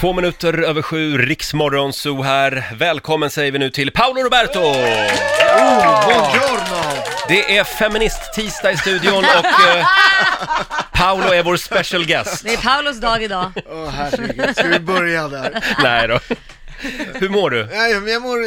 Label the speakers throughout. Speaker 1: Två minuter över sju, Riksmorgon Zoo här. Välkommen säger vi nu till Paolo Roberto!
Speaker 2: Buongiorno!
Speaker 1: Det är feminist-tisdag i studion och eh, Paolo är vår special guest.
Speaker 3: Det är Paulos dag idag.
Speaker 2: Åh herregud, ska vi börja där?
Speaker 1: Nej då. Hur mår du?
Speaker 2: Nej men jag mår...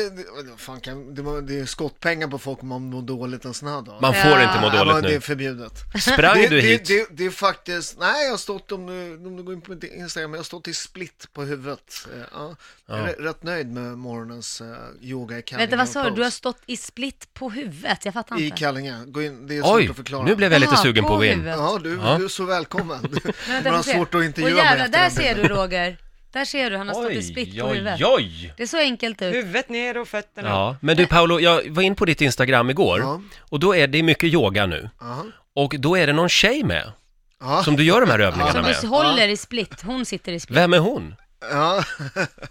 Speaker 2: vad Fan, kan, det, var- det är skottpengar på folk om man mår dåligt en sån här dag.
Speaker 1: Man får inte må
Speaker 2: Ja,
Speaker 1: dåligt
Speaker 2: men Det är
Speaker 1: nu.
Speaker 2: förbjudet.
Speaker 1: Sprang
Speaker 2: det,
Speaker 1: du
Speaker 2: det,
Speaker 1: hit?
Speaker 2: det, det är faktiskt, nej jag har stått, om du, om du går in på mitt Instagram, jag har stått i split på huvudet. Eh, Ja, jag är rätt- rätt nöjd med morgonens eh, yoga i Kallinge.
Speaker 3: Vänta, vad
Speaker 2: och
Speaker 3: sa du? Du har
Speaker 2: pose.
Speaker 3: stått i split på huvudet. Jag fattar
Speaker 2: I
Speaker 3: inte.
Speaker 2: Kallinge, gå in, det är svårt
Speaker 1: Oj,
Speaker 2: att förklara.
Speaker 1: nu blev jag lite
Speaker 3: Jaha,
Speaker 1: sugen på att gå in.
Speaker 3: huvudet.
Speaker 2: Ja, du,
Speaker 1: Ja.
Speaker 2: du är så välkommen.
Speaker 3: Men
Speaker 2: Man
Speaker 3: vänta,
Speaker 2: har
Speaker 3: får se.
Speaker 2: svårt att intervjua
Speaker 3: Åh, jävlar,
Speaker 2: mig efter
Speaker 3: Där
Speaker 2: den
Speaker 3: ser du Roger. Där ser du, han har stått i
Speaker 1: Oj,
Speaker 3: split på
Speaker 1: oj,
Speaker 3: huvudet.
Speaker 1: oj!
Speaker 3: Det är så enkelt ut.
Speaker 4: Huvudet ner och fötterna upp.
Speaker 1: Ja, men du Paolo, jag var in på ditt Instagram igår
Speaker 2: Ja.
Speaker 1: och då är det mycket yoga nu.
Speaker 2: Ja.
Speaker 1: Och då är det någon tjej med
Speaker 2: Ja.
Speaker 1: som du gör de här övningarna
Speaker 3: Som
Speaker 1: med.
Speaker 3: du håller i split. Hon sitter i split.
Speaker 1: Vem är hon?
Speaker 2: Ja,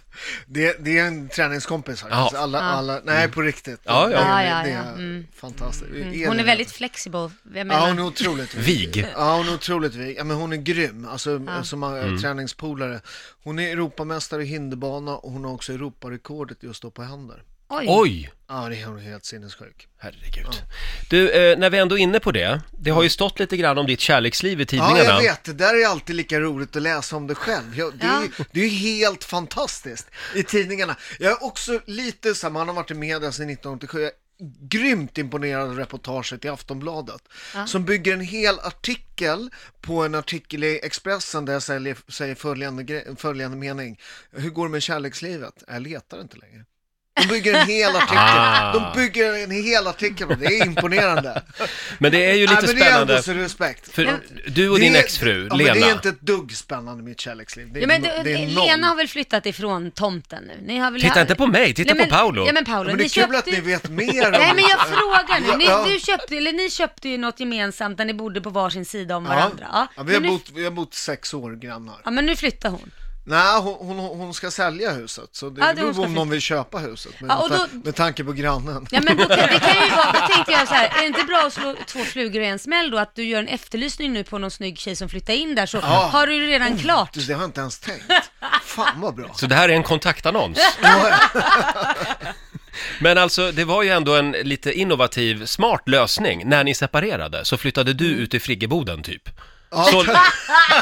Speaker 2: det, det är en träningskompis faktiskt.
Speaker 1: Ja. Mm.
Speaker 2: Alla, alla, nej på riktigt.
Speaker 1: Ja, ja.
Speaker 2: Det,
Speaker 3: Ja,
Speaker 2: är-
Speaker 3: ja,
Speaker 2: det
Speaker 3: ja.
Speaker 2: är
Speaker 3: Mm.
Speaker 2: fantastiskt.
Speaker 3: Hon är
Speaker 2: Elin.
Speaker 3: väldigt flexible. Jag
Speaker 2: Ja, hon är
Speaker 3: menar,
Speaker 2: otroligt vig.
Speaker 1: Vig.
Speaker 2: Ja, hon är otroligt vig. Ja, men hon är grym, alltså som eh,
Speaker 1: Mm.
Speaker 2: träningspolare. Hon är Europamästare i hinderbana och hon har också Europarekordet just då på händer.
Speaker 3: oj.
Speaker 1: Oj!
Speaker 2: Ja, det är hon helt sinnessjuk.
Speaker 1: Herregud. Du, eh, när vi ändå är inne på det, det har ju stått lite grann om ditt kärleksliv i
Speaker 2: Ja,
Speaker 1: tidningarna.
Speaker 2: jag vet. Det där är alltid lika roligt att läsa om det själv. Jag, det, är, det är ju helt fantastiskt i tidningarna. Jag är också lite så här, man har varit i media sedan 1987. Jag är grymt imponerad av reportaget i Aftonbladet som bygger en hel artikel på en artikel i Expressen där jag säger, säger följande, gre- följande mening. Hur går det med kärlekslivet? Jag letar inte längre. De bygger en hel
Speaker 1: Ah.
Speaker 2: artikel. De bygger en hel artikel på det. Det är imponerande.
Speaker 1: Men det är ju lite
Speaker 2: Nej, men det är
Speaker 1: spännande.
Speaker 2: ändå så respekt.
Speaker 1: För du och
Speaker 2: Det
Speaker 1: din
Speaker 2: är-
Speaker 1: exfru,
Speaker 2: ja,
Speaker 1: Lena.
Speaker 2: Men det är inte ett dugg spännande mitt kärleksliv. Det är,
Speaker 3: Ja, men
Speaker 2: no-
Speaker 3: det,
Speaker 2: det är noll.
Speaker 3: Lena har väl flyttat ifrån tomten nu? Ni har väl
Speaker 1: Titta inte på mig, titta
Speaker 3: Nej, men,
Speaker 1: på Paolo.
Speaker 3: Ja, men Paolo,
Speaker 2: Ja, men det
Speaker 3: ni
Speaker 2: är kul
Speaker 3: köpte
Speaker 2: att ni
Speaker 3: ju-
Speaker 2: vet mer om...
Speaker 3: Nej men jag frågar
Speaker 2: Ja,
Speaker 3: nu,
Speaker 2: ja.
Speaker 3: ni, du köpte, eller ni köpte ju något gemensamt där ni bodde på varsin sida om
Speaker 2: Ja.
Speaker 3: varandra. Ja.
Speaker 2: Ja, vi, har
Speaker 3: Men nu-
Speaker 2: bott, vi har bott sex år grannar.
Speaker 3: ja men nu flyttar hon.
Speaker 2: Nej, hon, hon, hon ska sälja huset, så det
Speaker 3: Ja, det
Speaker 2: beror
Speaker 3: hon
Speaker 2: på
Speaker 3: ska
Speaker 2: om någon vill köpa huset. Men
Speaker 3: Ja, och
Speaker 2: med ta-
Speaker 3: då-
Speaker 2: Med tanke på grannen.
Speaker 3: Ja men då, kan- det kan ju vara, då tänkte jag så här, är det inte bra att slå två flugor i en smäll då? Att du gör en efterlysning nu på någon snygg tjej som flyttar in där så har du ju redan klart.
Speaker 2: Oh, Du, det har jag inte ens tänkt. Fan vad bra.
Speaker 1: Så det här är en kontaktannons. Men alltså, det var ju ändå en lite innovativ, smart lösning. När ni separerade så flyttade du
Speaker 2: Mm.
Speaker 1: ut i friggeboden typ. Så,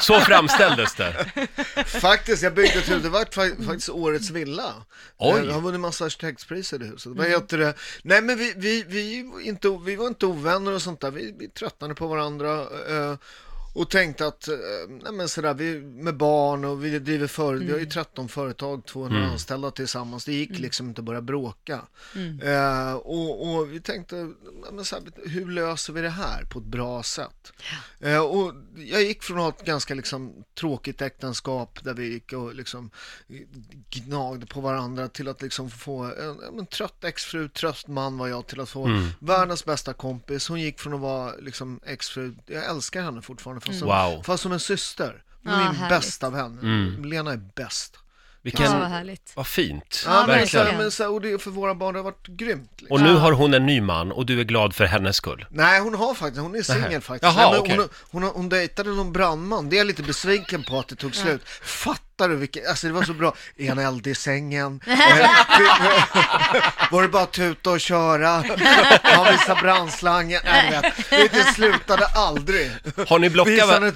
Speaker 1: så framställdes det.
Speaker 2: Faktiskt, jag byggde ett hus, det var fa- faktiskt årets villa.
Speaker 1: Oj.
Speaker 2: Jag har vunnit massa arkitektpriser i det huset. Vad heter det? Nej men vi, vi, vi, var inte, vi var inte ovänner och sånt där, vi, vi tröttnade på varandra. eh, Och tänkte att, eh, nej men sådär, vi med barn och vi driver företag, vi har ju 13 företag, 200 anställda tillsammans, det gick liksom inte att börja bråka. Eh, och, och vi tänkte, nej men såhär, hur löser vi det här på ett bra sätt? Eh, och jag gick från att ha ett ganska liksom, tråkigt äktenskap där vi gick och liksom, gnagde på varandra till att liksom få en, ja, men trött exfru, trött man var jag till att få
Speaker 1: Mm.
Speaker 2: världens bästa kompis. Hon gick från att vara liksom, exfru, jag älskar henne fortfarande fast som,
Speaker 1: Wow. Mm.
Speaker 2: fast som en syster. Hon är
Speaker 3: Ja,
Speaker 2: min
Speaker 3: härligt.
Speaker 2: bästa vän. Lena är bäst.
Speaker 1: Vilken,
Speaker 3: Ja, vad härligt.
Speaker 1: vad fint.
Speaker 2: Ja, men, så,
Speaker 1: verkligen.
Speaker 2: här- men, så, här, och det, för våra barn det har varit grymt. Liksom.
Speaker 1: Och nu har hon en ny man och du är glad för hennes skull.
Speaker 2: Nej, hon har faktiskt, hon är singel faktiskt.
Speaker 1: Jaha,
Speaker 2: Nej, men
Speaker 1: okej.
Speaker 2: hon, hon, hon, hon dejtade någon brandman, det är jag lite besviken på att det tog slut. Fattar du vilket, alltså det var så bra. En eld i sängen. Eh, var det bara att tuta och köra? Han visade brandslangen. Nej, du vet, Det det slutade aldrig.
Speaker 1: Har ni blockat,
Speaker 2: Visade
Speaker 1: va-
Speaker 2: ett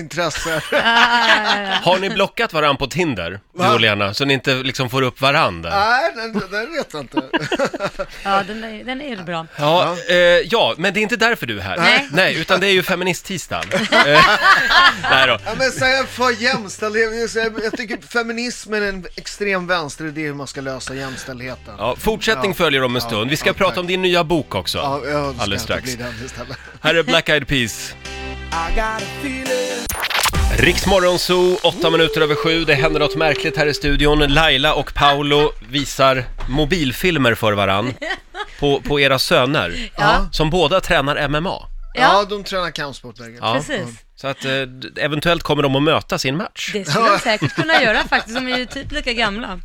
Speaker 2: intresse.
Speaker 1: har ni blockat varann på Tinder, du och Lena? Så ni inte liksom får upp varann där?
Speaker 2: Nej, den, den vet jag inte.
Speaker 3: Ja den, där- den är bra.
Speaker 1: Ja, eh, ja, men det är inte därför du är här.
Speaker 3: Nej.
Speaker 1: Nej, utan det är ju feministtisdagen. eh, nej då.
Speaker 2: Ja, men så här, för jämställdhet, så här, jag tycker feminismen är en extrem vänsteridé hur man ska lösa jämställdheten.
Speaker 1: Ja, fortsättning
Speaker 2: Ja.
Speaker 1: följer om en stund. Vi ska
Speaker 2: ja,
Speaker 1: prata
Speaker 2: tack.
Speaker 1: om din nya bok också.
Speaker 2: Ja, jag önskar
Speaker 1: Alldeles
Speaker 2: att det
Speaker 1: strax.
Speaker 2: blir den istället.
Speaker 1: Här är Black Eyed Peas. Riksmorgon Zoo, åtta minuter över sju. Det händer något märkligt här i studion. Laila och Paolo visar mobilfilmer för varann på, på era söner.
Speaker 3: Ja.
Speaker 1: Som båda tränar MMA.
Speaker 2: Ja, de tränar kampsport bägge.
Speaker 1: Ja.
Speaker 3: Precis.
Speaker 1: Så att eh, d- eventuellt kommer de att mötas i en match.
Speaker 3: Det skulle de säkert kunna göra faktiskt, de är ju typ lika gamla.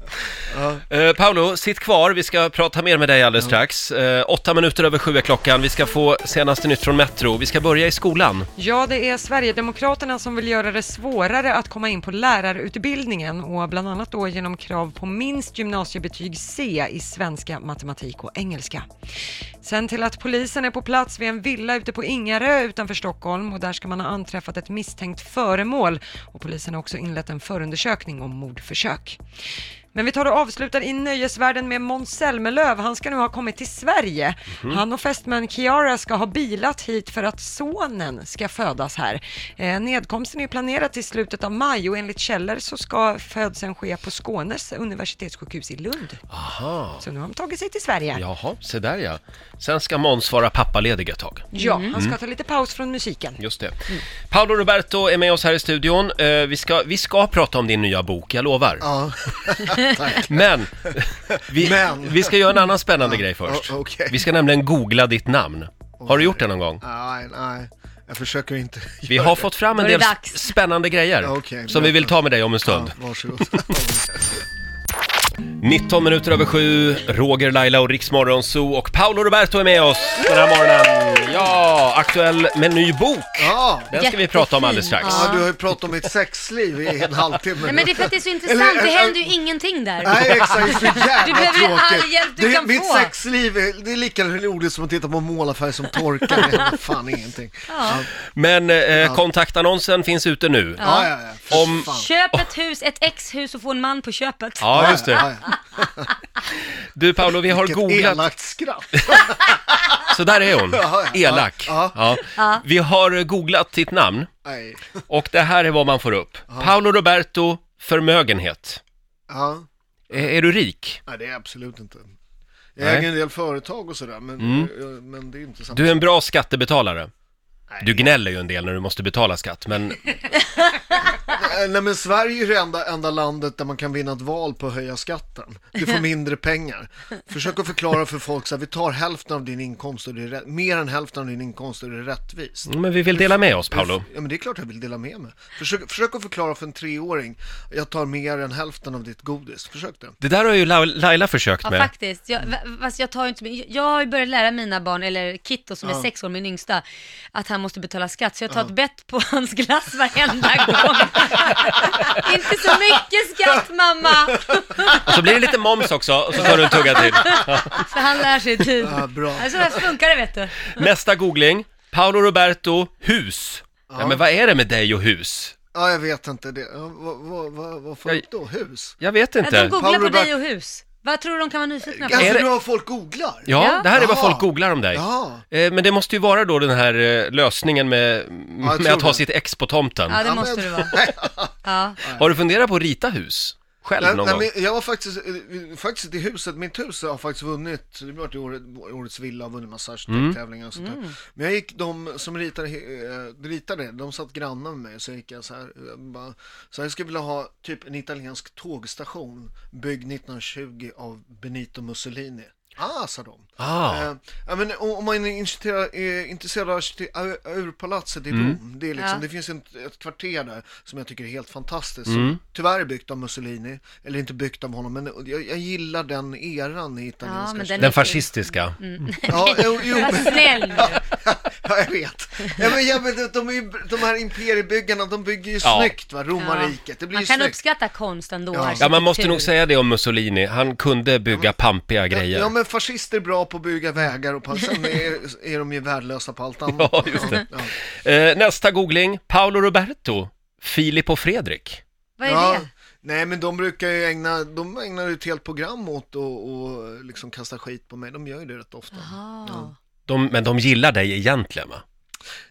Speaker 1: Eh, Paolo, sitt kvar. Vi ska prata mer med dig alldeles strax. Eh, åtta minuter över sju är klockan. Vi ska få senaste nytt från Metro. Vi ska börja i skolan.
Speaker 4: Ja, det är Sverigedemokraterna som vill göra det svårare att komma in på lärarutbildningen och bland annat då genom krav på minst gymnasiebetyg C i svenska, matematik och engelska. Sen till att polisen är på plats vid en villa ute på Ingarö utanför Stockholm och där ska man ha anträffat ett misstänkt föremål och polisen har också inlett en förundersökning om mordförsök. Men vi tar och avslutar i nöjesvärlden med Måns Zelmerlöw. Han ska nu ha kommit till Sverige. Han och fästmön Kiara ska ha bilat hit för att sonen ska födas här. Eh, nedkomsten är planerad till slutet av maj och enligt källor så ska födseln ske på Skånes universitetssjukhus i Lund.
Speaker 1: Aha.
Speaker 4: Så nu har de tagit sig till Sverige. Ja,
Speaker 1: Jaha, se där ja. Sen ska Måns vara pappaledig ett tag.
Speaker 4: han ska ta lite paus från musiken.
Speaker 1: Just det.
Speaker 2: Mm.
Speaker 1: Paolo Roberto är med oss här i studion. Eh, vi, ska, vi ska prata om din nya bok, jag lovar.
Speaker 2: Ja,
Speaker 1: Men, vi,
Speaker 2: Men.
Speaker 1: vi ska göra en annan spännande grej först.
Speaker 2: o- okej.
Speaker 1: Vi ska nämligen googla ditt namn. Har du gjort det någon gång?
Speaker 2: nej, nej. Jag försöker inte.
Speaker 1: Vi har fått fram en
Speaker 3: Då är
Speaker 1: del
Speaker 3: det dags.
Speaker 1: spännande grejer
Speaker 2: Okej,
Speaker 1: som
Speaker 2: men-
Speaker 1: vi vill ta med dig om en stund.
Speaker 2: Ja, varsågod.
Speaker 1: 19 minuter över sju, Roger, Laila och Riksmorgon Zoo och Paolo Roberto är med oss den här morgonen. Ja, aktuell med ny bok.
Speaker 2: ja.
Speaker 1: Den ska vi prata om alldeles strax.
Speaker 2: ja, du har ju pratat om mitt sexliv i en halvtimme.
Speaker 3: Nej men det är för att det är så
Speaker 2: Eller-
Speaker 3: intressant, det händer ju ingenting där.
Speaker 2: Nej exakt, det är så jävla
Speaker 3: Du behöver
Speaker 2: tråkigt.
Speaker 3: all hjälp du
Speaker 2: det,
Speaker 3: kan
Speaker 2: mitt
Speaker 3: få.
Speaker 2: sexliv, är, det är lika roligt som att titta på målarfärg som torkar. Det händer fan ingenting. Ja,
Speaker 1: Men eh, kontaktannonsen finns ute nu.
Speaker 2: ja, ja. ja. Fy
Speaker 1: Om-
Speaker 2: fan.
Speaker 3: Köp ett hus, ett exhus och få en man på köpet.
Speaker 1: Ja, just
Speaker 2: Ja,
Speaker 1: det.
Speaker 2: ja.
Speaker 1: Du Paolo, vi har
Speaker 2: Vilket
Speaker 1: googlat.
Speaker 2: elakt skratt.
Speaker 1: Så där är hon.
Speaker 2: Ja, ja.
Speaker 1: Elak.
Speaker 2: Ja.
Speaker 1: Ja. Vi har googlat ditt namn
Speaker 2: Nej.
Speaker 1: och det här är vad man får upp. Paolo Roberto, förmögenhet.
Speaker 2: Ja.
Speaker 1: Är, Eh, är du rik?
Speaker 2: Nej, det är jag absolut inte. Jag
Speaker 1: Nej. Mm.
Speaker 2: äger en del företag och sådär, men, men det är inte samma.
Speaker 1: Du är en bra skattebetalare. Du gnäller ju en del när du måste betala skatt, men
Speaker 2: Eh, Nej men Sverige är det enda, enda landet där man kan vinna ett val på att höja skatten. Du får mindre pengar. Försök att förklara för folk så här, vi tar hälften av din inkomst och det är rä- mer än hälften av din inkomst och det är rättvist.
Speaker 1: Men vi vill dela med oss, Paolo.
Speaker 2: Ja men det är klart jag vill dela med mig. Försök, försök att förklara för en treåring, jag tar mer än hälften av ditt godis. Försök det.
Speaker 1: Det där har ju La- Laila försökt
Speaker 3: Ja,
Speaker 1: med.
Speaker 3: faktiskt. Jag, va- fast jag, tar ju inte, min- jag har ju börjat lära mina barn, eller Kitto som är sex år, min yngsta, att han måste betala skatt. Så jag tar ett bett på hans glass varenda gång. inte så mycket skatt mamma!
Speaker 1: Och så blir det lite moms också, och så tar du en tugga till.
Speaker 3: Så han lär sig i tid.
Speaker 2: Ja, bra.
Speaker 3: Alltså, det funkar det vet du.
Speaker 1: Nästa googling. Paolo Roberto, hus. Ja, men vad är det med dig och hus?
Speaker 2: Ja jag vet inte det. Ja, vad, vad, vad, vad får jag upp då? Hus?
Speaker 1: Jag vet
Speaker 3: Ja, De
Speaker 1: inte.
Speaker 3: googlar på
Speaker 2: Paolo
Speaker 3: dig och hus. Vad tror du de kan vara nyfikna på?
Speaker 2: Alltså
Speaker 1: det-
Speaker 2: nu har folk googlar?
Speaker 1: Ja,
Speaker 3: Ja.
Speaker 1: det här är vad
Speaker 2: Jaha.
Speaker 1: folk googlar om dig.
Speaker 2: Jaha.
Speaker 1: Eh, Men det måste ju vara då den här eh, lösningen med,
Speaker 2: jag
Speaker 1: med
Speaker 2: tror
Speaker 1: att ha
Speaker 2: det.
Speaker 1: sitt ex på tomten.
Speaker 3: Ja, det
Speaker 2: Ja,
Speaker 3: måste
Speaker 2: men-
Speaker 3: det vara. Ja.
Speaker 1: Har du funderat på att rita hus? Själv någon
Speaker 2: Nej,
Speaker 1: gång?
Speaker 2: nej, men jag var faktiskt, eh, faktiskt i huset, mitt hus har faktiskt vunnit, det blev året, årets villa och vunnit massa
Speaker 1: Mm.
Speaker 2: arkitekttävlingar och sånt där. Men jag gick, de som ritade, eh, ritade, de satt grannar med mig, så gick jag så här, eh, bara, så här, jag skulle vilja ha typ en italiensk tågstation byggd 1920 av Benito Mussolini. Ah, sa de.
Speaker 1: Ah.
Speaker 2: Eh, ja, men om om man är intresserad, är intresserad av arkite- av urpalatset
Speaker 1: Mm.
Speaker 2: i Rom, det, är liksom,
Speaker 3: Ja.
Speaker 2: det finns ett, ett kvarter där som jag tycker är helt fantastiskt,
Speaker 1: Mm.
Speaker 2: som tyvärr är byggt av Mussolini, eller inte byggt av honom, men jag, jag gillar den eran i italienska...
Speaker 3: Ja, men den-
Speaker 1: Den fascististiska.
Speaker 2: Ja, jo, jo,
Speaker 3: Var snäll nu.
Speaker 2: ja, jag vet. Ja, men, ja, men de, de, är ju, de här imperiebyggarna, de bygger ju
Speaker 1: Ja.
Speaker 2: snyggt, va? romarriket. Det blir
Speaker 3: Man
Speaker 2: ju
Speaker 3: kan
Speaker 2: snyggt.
Speaker 3: uppskatta konst ändå.
Speaker 2: Ja.
Speaker 1: Ja, man måste
Speaker 3: arkitektur.
Speaker 1: nog säga det om Mussolini. Han kunde bygga pampiga
Speaker 2: Ja,
Speaker 1: grejer.
Speaker 2: men fascister är bra på att bygga vägar och på, sen är, är de ju värdelösa på allt annat.
Speaker 1: Ja, just det.
Speaker 2: Ja.
Speaker 1: Eh, Nästa googling. Paolo Roberto, Filip och Fredrik.
Speaker 3: Vad är det?
Speaker 2: Nej men de brukar ju ägna, de ägnar ju ett helt program åt och, och liksom kasta skit på mig, de gör ju det rätt ofta.
Speaker 3: Ah.
Speaker 1: De, men de gillar dig egentligen va?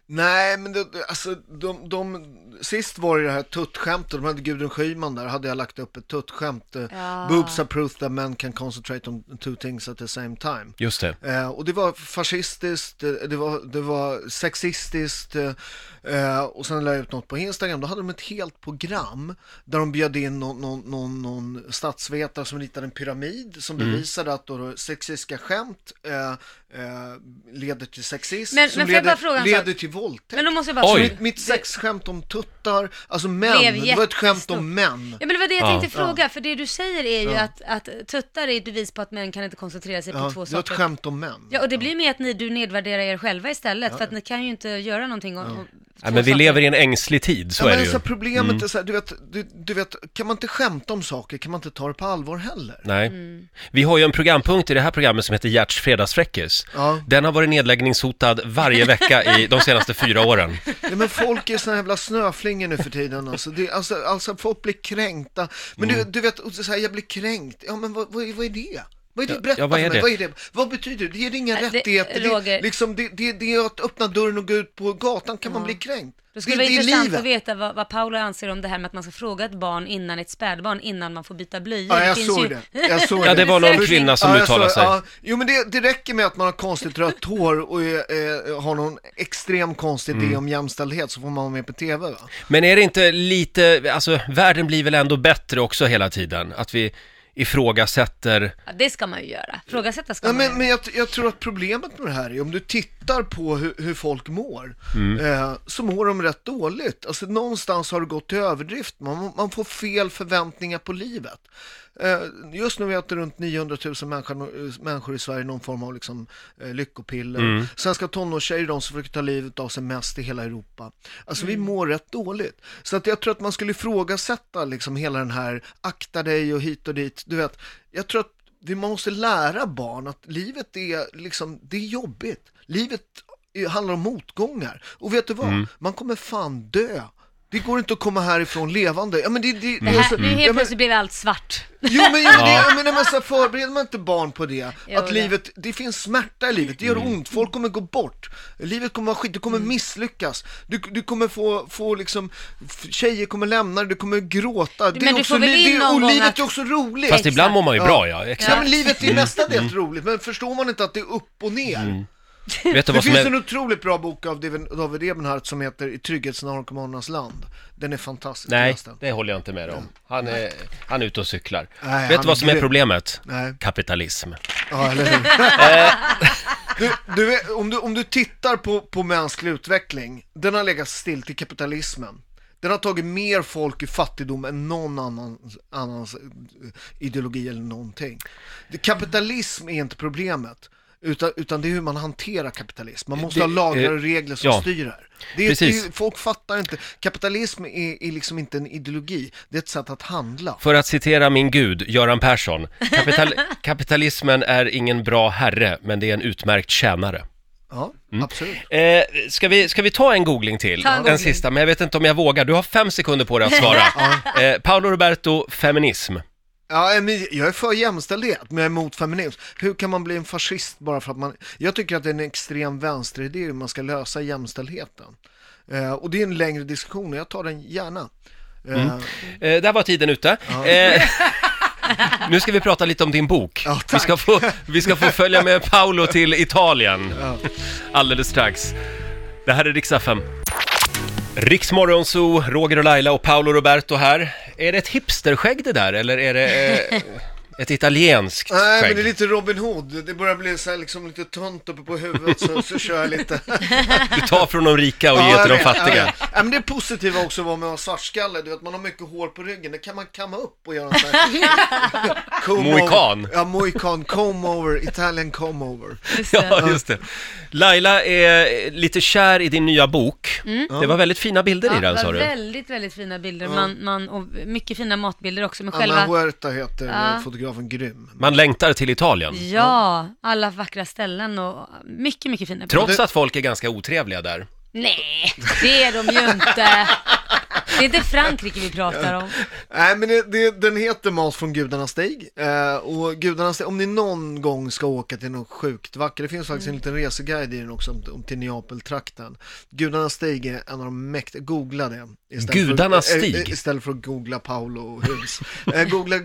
Speaker 2: Nej men det, det- alltså de, de, sist var det det här tuttskämtet, de hade Gudrun Schyman där, hade jag lagt upp ett tuttskämt,
Speaker 3: Ja.
Speaker 2: eh, boobs are proof that men can concentrate on two things at the same time.
Speaker 1: Just det.
Speaker 2: Eh, och det var fascistiskt, eh, det var, det var sexistiskt eh, eh, och sen la jag ut något på Instagram. Då hade de ett helt program där de bjöd in någon, någon, någon, någon statsvetare som ritade en pyramid som bevisade att då sexistiska skämt eh, eh, leder till sexism
Speaker 3: Men-
Speaker 2: som
Speaker 3: men får jag
Speaker 2: leder,
Speaker 3: bara fråga en sak?
Speaker 2: leder till våldtäkt.
Speaker 3: Men då måste jag bara...
Speaker 1: Oj.
Speaker 2: Mitt, mitt sexskämt om tuttar, alltså
Speaker 3: Blev
Speaker 2: män, det var ett skämt
Speaker 3: jättestort.
Speaker 2: om män.
Speaker 3: Ja men det var det jag
Speaker 1: Ja.
Speaker 3: tänkte fråga, för det du säger är ju att, att tuttar är ett bevis på att män kan inte koncentrera sig
Speaker 2: Ja,
Speaker 3: på två
Speaker 2: det var ett
Speaker 3: saker.
Speaker 2: skämt om män.
Speaker 3: Ja och det blir med att ni, du nedvärderar er själva istället, för att ni kan ju inte göra någonting om, om
Speaker 1: Nej,
Speaker 3: två
Speaker 1: men vi
Speaker 3: saker.
Speaker 1: lever i en ängslig tid, så
Speaker 2: ja,
Speaker 1: är
Speaker 2: men
Speaker 1: det ju. Mm.
Speaker 2: alltså, problemet är så här, du vet, du, du vet, kan man inte skämta om saker kan man inte ta det på allvar heller.
Speaker 1: Nej.
Speaker 3: Mm.
Speaker 1: Vi har ju en programpunkt i det här programmet som heter Gerts fredagsfräckis.
Speaker 2: Ja.
Speaker 1: Den har varit nedläggningshotad varje vecka i de senaste fyra åren.
Speaker 2: Nej, men folk är såna jävla snöflingor nu för tiden alltså. Det, alltså, alltså folk blir kränkta. Men
Speaker 1: Mm.
Speaker 2: du, du vet, och så här, jag blir kränkt. Ja men vad, vad, är- vad är det? Vad är det? Berätta
Speaker 1: ja, vad är
Speaker 2: för mig.
Speaker 1: det?
Speaker 2: Vad, är det? vad betyder det? Det är inga
Speaker 3: Nej, det-
Speaker 2: rättigheter. Det,
Speaker 3: Roger.
Speaker 2: är liksom, det, det, det är att öppna dörren och gå ut på gatan kan man bli kränkt.
Speaker 3: Det skulle
Speaker 2: det,
Speaker 3: vara
Speaker 2: är
Speaker 3: intressant att veta vad, vad Paula anser om det här med att man ska fråga ett barn innan ett spädbarn innan man får byta blöjor.
Speaker 2: Ja, jag
Speaker 3: finns
Speaker 2: såg
Speaker 3: ju-
Speaker 2: det. Jag såg
Speaker 1: Ja, det var någon
Speaker 3: Först-
Speaker 1: kvinna som
Speaker 2: Ja, jag
Speaker 1: uttalade
Speaker 2: sa-
Speaker 1: sig.
Speaker 2: ja. Jo men det, det räcker med att man har konstigt rött hår och är, eh, har någon extrem konstig idé
Speaker 1: Mm.
Speaker 2: om jämställdhet så får man vara med på TV va?
Speaker 1: Men är det inte lite, alltså världen blir väl ändå bättre också hela tiden? Att vi ifrågasätter,
Speaker 3: Ja, det ska man ju göra. Frågasätta ska
Speaker 2: Ja,
Speaker 3: man
Speaker 2: men men jag, jag tror att problemet med det här är om du tittar på hur, hur folk mår, eh, så mår de rätt dåligt. Alltså någonstans har det gått till överdrift, man, man får fel förväntningar på livet. Eh, just nu äter runt 900 000 människor, eh, människor i Sverige någon form av liksom, eh, lyckopiller. Svenska tonårstjejer är de som försöker ta livet av sig mest i hela Europa. Alltså vi mår rätt dåligt. Så att jag tror att man skulle ifrågasätta liksom hela den här, akta dig och hit och dit. Du vet, jag tror att vi måste lära barn att livet är liksom, det är jobbigt. Livet är- handlar om motgångar. Och vet du vad? Man kommer fan dö. Det går inte att komma härifrån levande. Ja men det, det,
Speaker 3: Det här,
Speaker 2: alltså,
Speaker 3: nu
Speaker 2: ja,
Speaker 3: helt
Speaker 2: men,
Speaker 3: plötsligt blev allt svart.
Speaker 2: Jo men, jo, det, ja. men när man så här förbereder man inte barn på det,
Speaker 3: Jo,
Speaker 2: att
Speaker 3: det.
Speaker 2: livet, det finns smärta i livet, det gör ont, folk kommer gå bort, livet kommer vara skit, du kommer misslyckas, du, du kommer få, få liksom, f- tjejer kommer lämna dig, du kommer gråta, det
Speaker 3: Men
Speaker 2: är
Speaker 3: du
Speaker 2: också,
Speaker 3: får väl
Speaker 2: li-
Speaker 3: in
Speaker 2: det,
Speaker 3: någon
Speaker 2: och
Speaker 3: gång
Speaker 2: livet
Speaker 3: att-
Speaker 2: är också roligt.
Speaker 1: fast ibland mår man ju
Speaker 2: Ja.
Speaker 1: bra ja,
Speaker 2: Ja,
Speaker 1: exakt.
Speaker 2: men livet
Speaker 1: Mm.
Speaker 2: är mestadels roligt, men förstår man inte att det är upp och ner?
Speaker 1: Vet du
Speaker 2: Det
Speaker 1: vad Mm. som
Speaker 2: finns en
Speaker 1: är,
Speaker 2: otroligt bra bok av David David Ebenhardt som heter I trygghetsnarkomanernas land. Den är fantastisk.
Speaker 1: nej,
Speaker 2: läs den.
Speaker 1: det håller jag inte med om. Han är, han är ute och cyklar.
Speaker 2: Nej,
Speaker 1: Vet
Speaker 2: han-
Speaker 1: du vad som är
Speaker 2: du-
Speaker 1: problemet?
Speaker 2: Nej.
Speaker 1: Kapitalism.
Speaker 2: Ja, eller hur? du, du, vet, om, du, om du tittar på, på mänsklig utveckling, den har legat still till kapitalismen. Den har tagit mer folk i fattigdom än någon annans, annans eh, ideologi eller någonting. Det- Kapitalism är inte problemet, utan, utan det är hur man hanterar kapitalism. Man måste
Speaker 1: Det-
Speaker 2: ha lagar
Speaker 1: eh,
Speaker 2: och regler som
Speaker 1: ja.
Speaker 2: styr det här. Det är,
Speaker 1: Precis.
Speaker 2: det är, folk fattar inte. Kapitalism är, är liksom inte en ideologi, det är ett sätt att handla.
Speaker 1: För att citera min gud, Göran Persson, kapital, kapitalismen är ingen bra herre, men det är en utmärkt tjänare.
Speaker 2: Ja, absolut.
Speaker 1: Eh, ska, vi, ska vi ta en googling till?
Speaker 3: Ta en googling.
Speaker 1: sista, men jag vet inte om jag vågar. Du har fem sekunder på dig att svara. eh, Paolo Roberto, feminism.
Speaker 2: Ja, eh, men jag är för jämställdhet, men jag är emot feminism. Hur kan man bli en fascist bara för att man... Jag tycker att det är en extrem vänsteridé hur man ska lösa jämställdheten. Eh, och det är en längre diskussion och jag tar den gärna. Eh,
Speaker 1: Eh, där var tiden ute. Eh, nu ska vi prata lite om din bok.
Speaker 2: Ja,
Speaker 1: vi,
Speaker 2: tack.
Speaker 1: ska få, vi ska få följa med Paolo till Italien alldeles strax. Det här är Rix FM. Riksmorgon Zoo, Roger och Laila och Paolo Roberto här. Är det ett hipsterskägg det där, eller är det eh, ett italienskt
Speaker 2: Nej,
Speaker 1: skägg?
Speaker 2: men det är lite Robin Hood. Det börjar bli så här, liksom lite tunt uppe på huvudet, så, så kör jag lite.
Speaker 1: Du tar från de rika och
Speaker 2: Ja,
Speaker 1: ger
Speaker 2: jag
Speaker 1: till de
Speaker 2: vet, jag
Speaker 1: fattiga.
Speaker 2: vet. Ja, men det positiva också var med att ha svartskalle, du vet man har mycket hår på ryggen, det kan man kamma upp och göra så här. Comb over.
Speaker 1: Mohikan.
Speaker 2: Ja, mohikan, comb over, Italian comb over.
Speaker 3: Just det.
Speaker 1: Ja, just det. Laila är lite kär i din nya bok.
Speaker 2: Mm.
Speaker 1: Det var väldigt fina bilder i
Speaker 3: Ja,
Speaker 1: den,
Speaker 3: det
Speaker 1: sa
Speaker 3: var
Speaker 1: du.
Speaker 3: väldigt, väldigt fina bilder. Man, man, och mycket fina matbilder också. Men
Speaker 2: Anna
Speaker 3: själva,
Speaker 2: Huerta heter
Speaker 3: Ja.
Speaker 2: fotografen grym.
Speaker 1: Man längtar till Italien.
Speaker 3: ja, alla vackra ställen och mycket, mycket fina bilder.
Speaker 1: Trots att folk är ganska otrevliga där.
Speaker 3: Nej, det är de ju inte. Det är inte Frankrike vi pratar om.
Speaker 2: Nej men det, det, den heter Mat från gudarnas stig. Eh, och gudarnas stig, om ni någon gång ska åka till något sjukt vackert, det finns faktiskt
Speaker 3: Mm.
Speaker 2: en liten reseguide i den också, om, om till Neapeltrakten. Gudarnas stig är en av de mäktiga, googla det. istället för-
Speaker 1: Gudarnas
Speaker 2: eh, eh,
Speaker 1: stig?
Speaker 2: Istället för att googla Paolo Hus. eh, googla eh,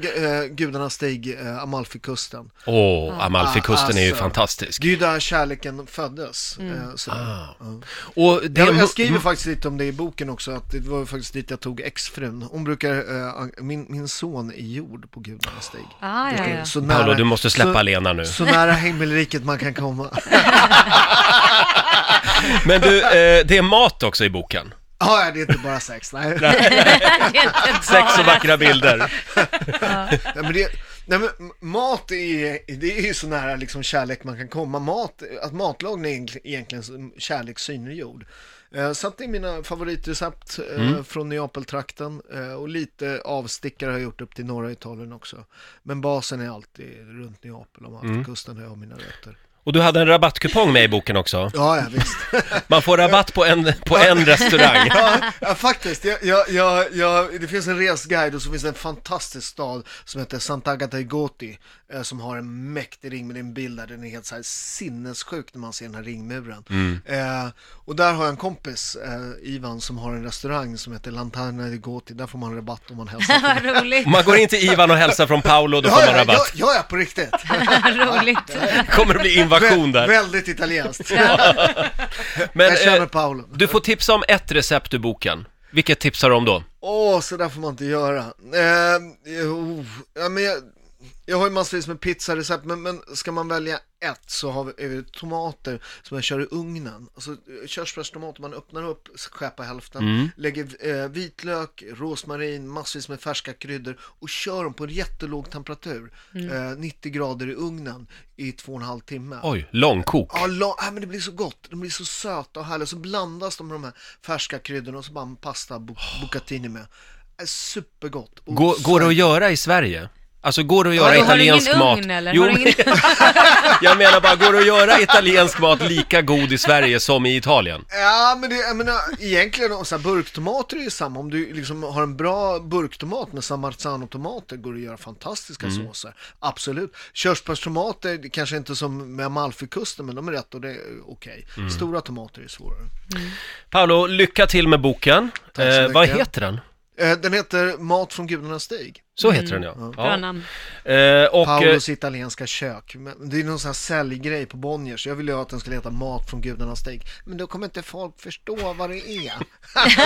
Speaker 2: gudarnas stig, eh, Amalfikusten.
Speaker 1: Åh, Amalfikusten är ju
Speaker 2: Alltså.
Speaker 1: fantastisk.
Speaker 2: Det är ju där kärleken
Speaker 3: Mm.
Speaker 2: föddes. Eh, så.
Speaker 1: Och det, mm.
Speaker 2: Jag, jag skriver faktiskt lite om det i boken också, att det var faktiskt dit dit jag tog exfrun. Hon brukar, eh, min, min son är gjord på gudarnas stig.
Speaker 3: Ah, ja, ja.
Speaker 2: Så
Speaker 1: Paolo, du måste släppa
Speaker 2: så,
Speaker 1: Lena nu.
Speaker 2: Så nära himmelriket man kan komma.
Speaker 1: Men du, eh, det är mat också i boken.
Speaker 2: Ja, det är inte bara sex. Nej.
Speaker 3: Det är inte
Speaker 1: Sex och
Speaker 3: bara-
Speaker 1: vackra bilder.
Speaker 2: Nej, men det, nej, men m- mat är, det är ju så nära liksom kärlek man kan komma. Mat, att matlagning är egent- egentligen som kärlek synliggjord. Eh, Så att det är mina favoritrecept eh, från Neapeltrakten eh, och lite avstickare har jag gjort upp till norra Italien också. Men basen är alltid runt Neapel och Malmkusten där jag har mina rötter.
Speaker 1: Och du hade en rabattkupong med i boken också.
Speaker 2: Ja, ja visst.
Speaker 1: Man får rabatt på en, på en restaurang.
Speaker 2: ja, ja, faktiskt. Jag, jag, jag, jag, det finns en resguide och så finns det en fantastisk stad som heter Sant'Agata i Goti eh, som har en mäktig ring med en bild där den är helt så här sinnessjuk när man ser den här ringmuren.
Speaker 1: Mm.
Speaker 2: Eh, och där har jag en kompis, eh, Ivan, som har en restaurang som heter Lanterna di Goti. Där får man rabatt om man hälsar på.
Speaker 3: Vad roligt.
Speaker 1: Om man går in till Ivan och hälsar från Paolo, då får
Speaker 2: Ja,
Speaker 1: man
Speaker 2: ja, ja,
Speaker 1: rabatt.
Speaker 2: ja, ja, på riktigt.
Speaker 3: roligt.
Speaker 1: kommer det bli invasion
Speaker 2: Vä-
Speaker 1: där.
Speaker 2: väldigt italienskt.
Speaker 1: Men
Speaker 2: jag känner
Speaker 1: eh,
Speaker 2: Paolo.
Speaker 1: du får tipsa om ett recept ur boken. Vilket tipsar du om då?
Speaker 2: Åh, så där får man inte göra. Eh, oh, ja, men jag, jag har ju massvis med pizzarecept, men, men ska man välja ett så har vi, är det tomater som jag kör i ugnen. Alltså eh, körsbärstomater, man öppnar upp, skär hälften, lägger eh, vitlök, rosmarin, massvis med färska kryddor och kör dem på en jättelåg temperatur, eh, 90 grader i ugnen i två och en halv timme.
Speaker 1: Oj, långkok.
Speaker 2: Ja, la, nej, men det blir så gott. De blir så söta och härliga. Så blandas de med de här färska kryddorna och så bara en pasta bu- bucatini med. Är supergott. Och
Speaker 1: Går, går det att göra i Sverige? Alltså går det att göra
Speaker 3: Har du- har du ingen
Speaker 1: italiensk mat?
Speaker 3: ugn, eller?
Speaker 1: Jo,
Speaker 3: Har du ingen-
Speaker 1: men- jag menar bara, går det att göra italiensk mat lika god i Sverige som i Italien?
Speaker 2: Ja, men det, jag menar, egentligen så här, burktomater är ju samma. Om du liksom har en bra burktomat med San Marzano-tomater går det att göra fantastiska
Speaker 1: Mm.
Speaker 2: såser. Absolut. Körsbärstomater, det kanske inte som med Amalfikusten, men de är rätt och det är okej.
Speaker 1: Mm.
Speaker 2: Stora tomater är svårare.
Speaker 1: Paolo, lycka till med boken.
Speaker 2: Tack så
Speaker 1: Eh, vad
Speaker 2: mycket.
Speaker 1: heter den?
Speaker 2: Eh, Den heter Mat från gudarnas stig.
Speaker 1: Så heter den
Speaker 2: Mm,
Speaker 1: ja.
Speaker 3: Bra
Speaker 1: ja.
Speaker 3: namn.
Speaker 1: Eh, och, eh,
Speaker 2: Paulos italienska kök. Men det är någon sån här säljgrej på Bonniers. Jag ville ju att den skulle heta Mat från gudarnas stig. Men då kommer inte folk förstå vad det är.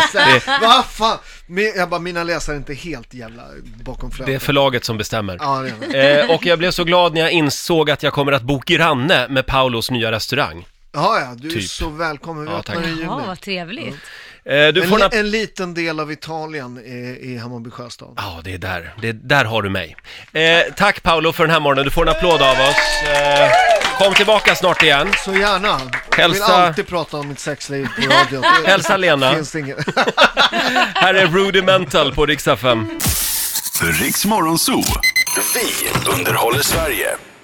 Speaker 2: Så här, Vad fan? Men Jag bara, mina läsare är inte helt jävla bakom
Speaker 1: det är
Speaker 2: flötet.
Speaker 1: förlaget som bestämmer.
Speaker 2: Ja, det är det.
Speaker 1: Eh, och jag blev så glad när jag insåg att jag kommer att bo granne med Paulos nya restaurang.
Speaker 2: ja, ja, du är
Speaker 1: Typ.
Speaker 2: så välkommen. Vi
Speaker 1: Ja,
Speaker 2: öppnar
Speaker 1: tack.
Speaker 2: i juni.
Speaker 3: Ja, vad trevligt.
Speaker 1: Eh, du
Speaker 2: en,
Speaker 1: får en
Speaker 2: li-
Speaker 1: app-
Speaker 2: en liten del av Italien i, i Hammarby sjöstad.
Speaker 1: Ja, det är där. Det är, där har du mig. Eh, tack Paolo för den här morgonen. Du får en applåd av oss. Eh, kom tillbaka snart igen.
Speaker 2: Så gärna. Jag vill
Speaker 1: Hälsa-
Speaker 2: alltid prata om mitt sexliv på radio. Det-
Speaker 1: Hälsa Lena.
Speaker 2: Finns det inget.
Speaker 1: Här är Rudimental på Riksa 5.
Speaker 5: Riks Morgonzoo. Vi underhåller Sverige.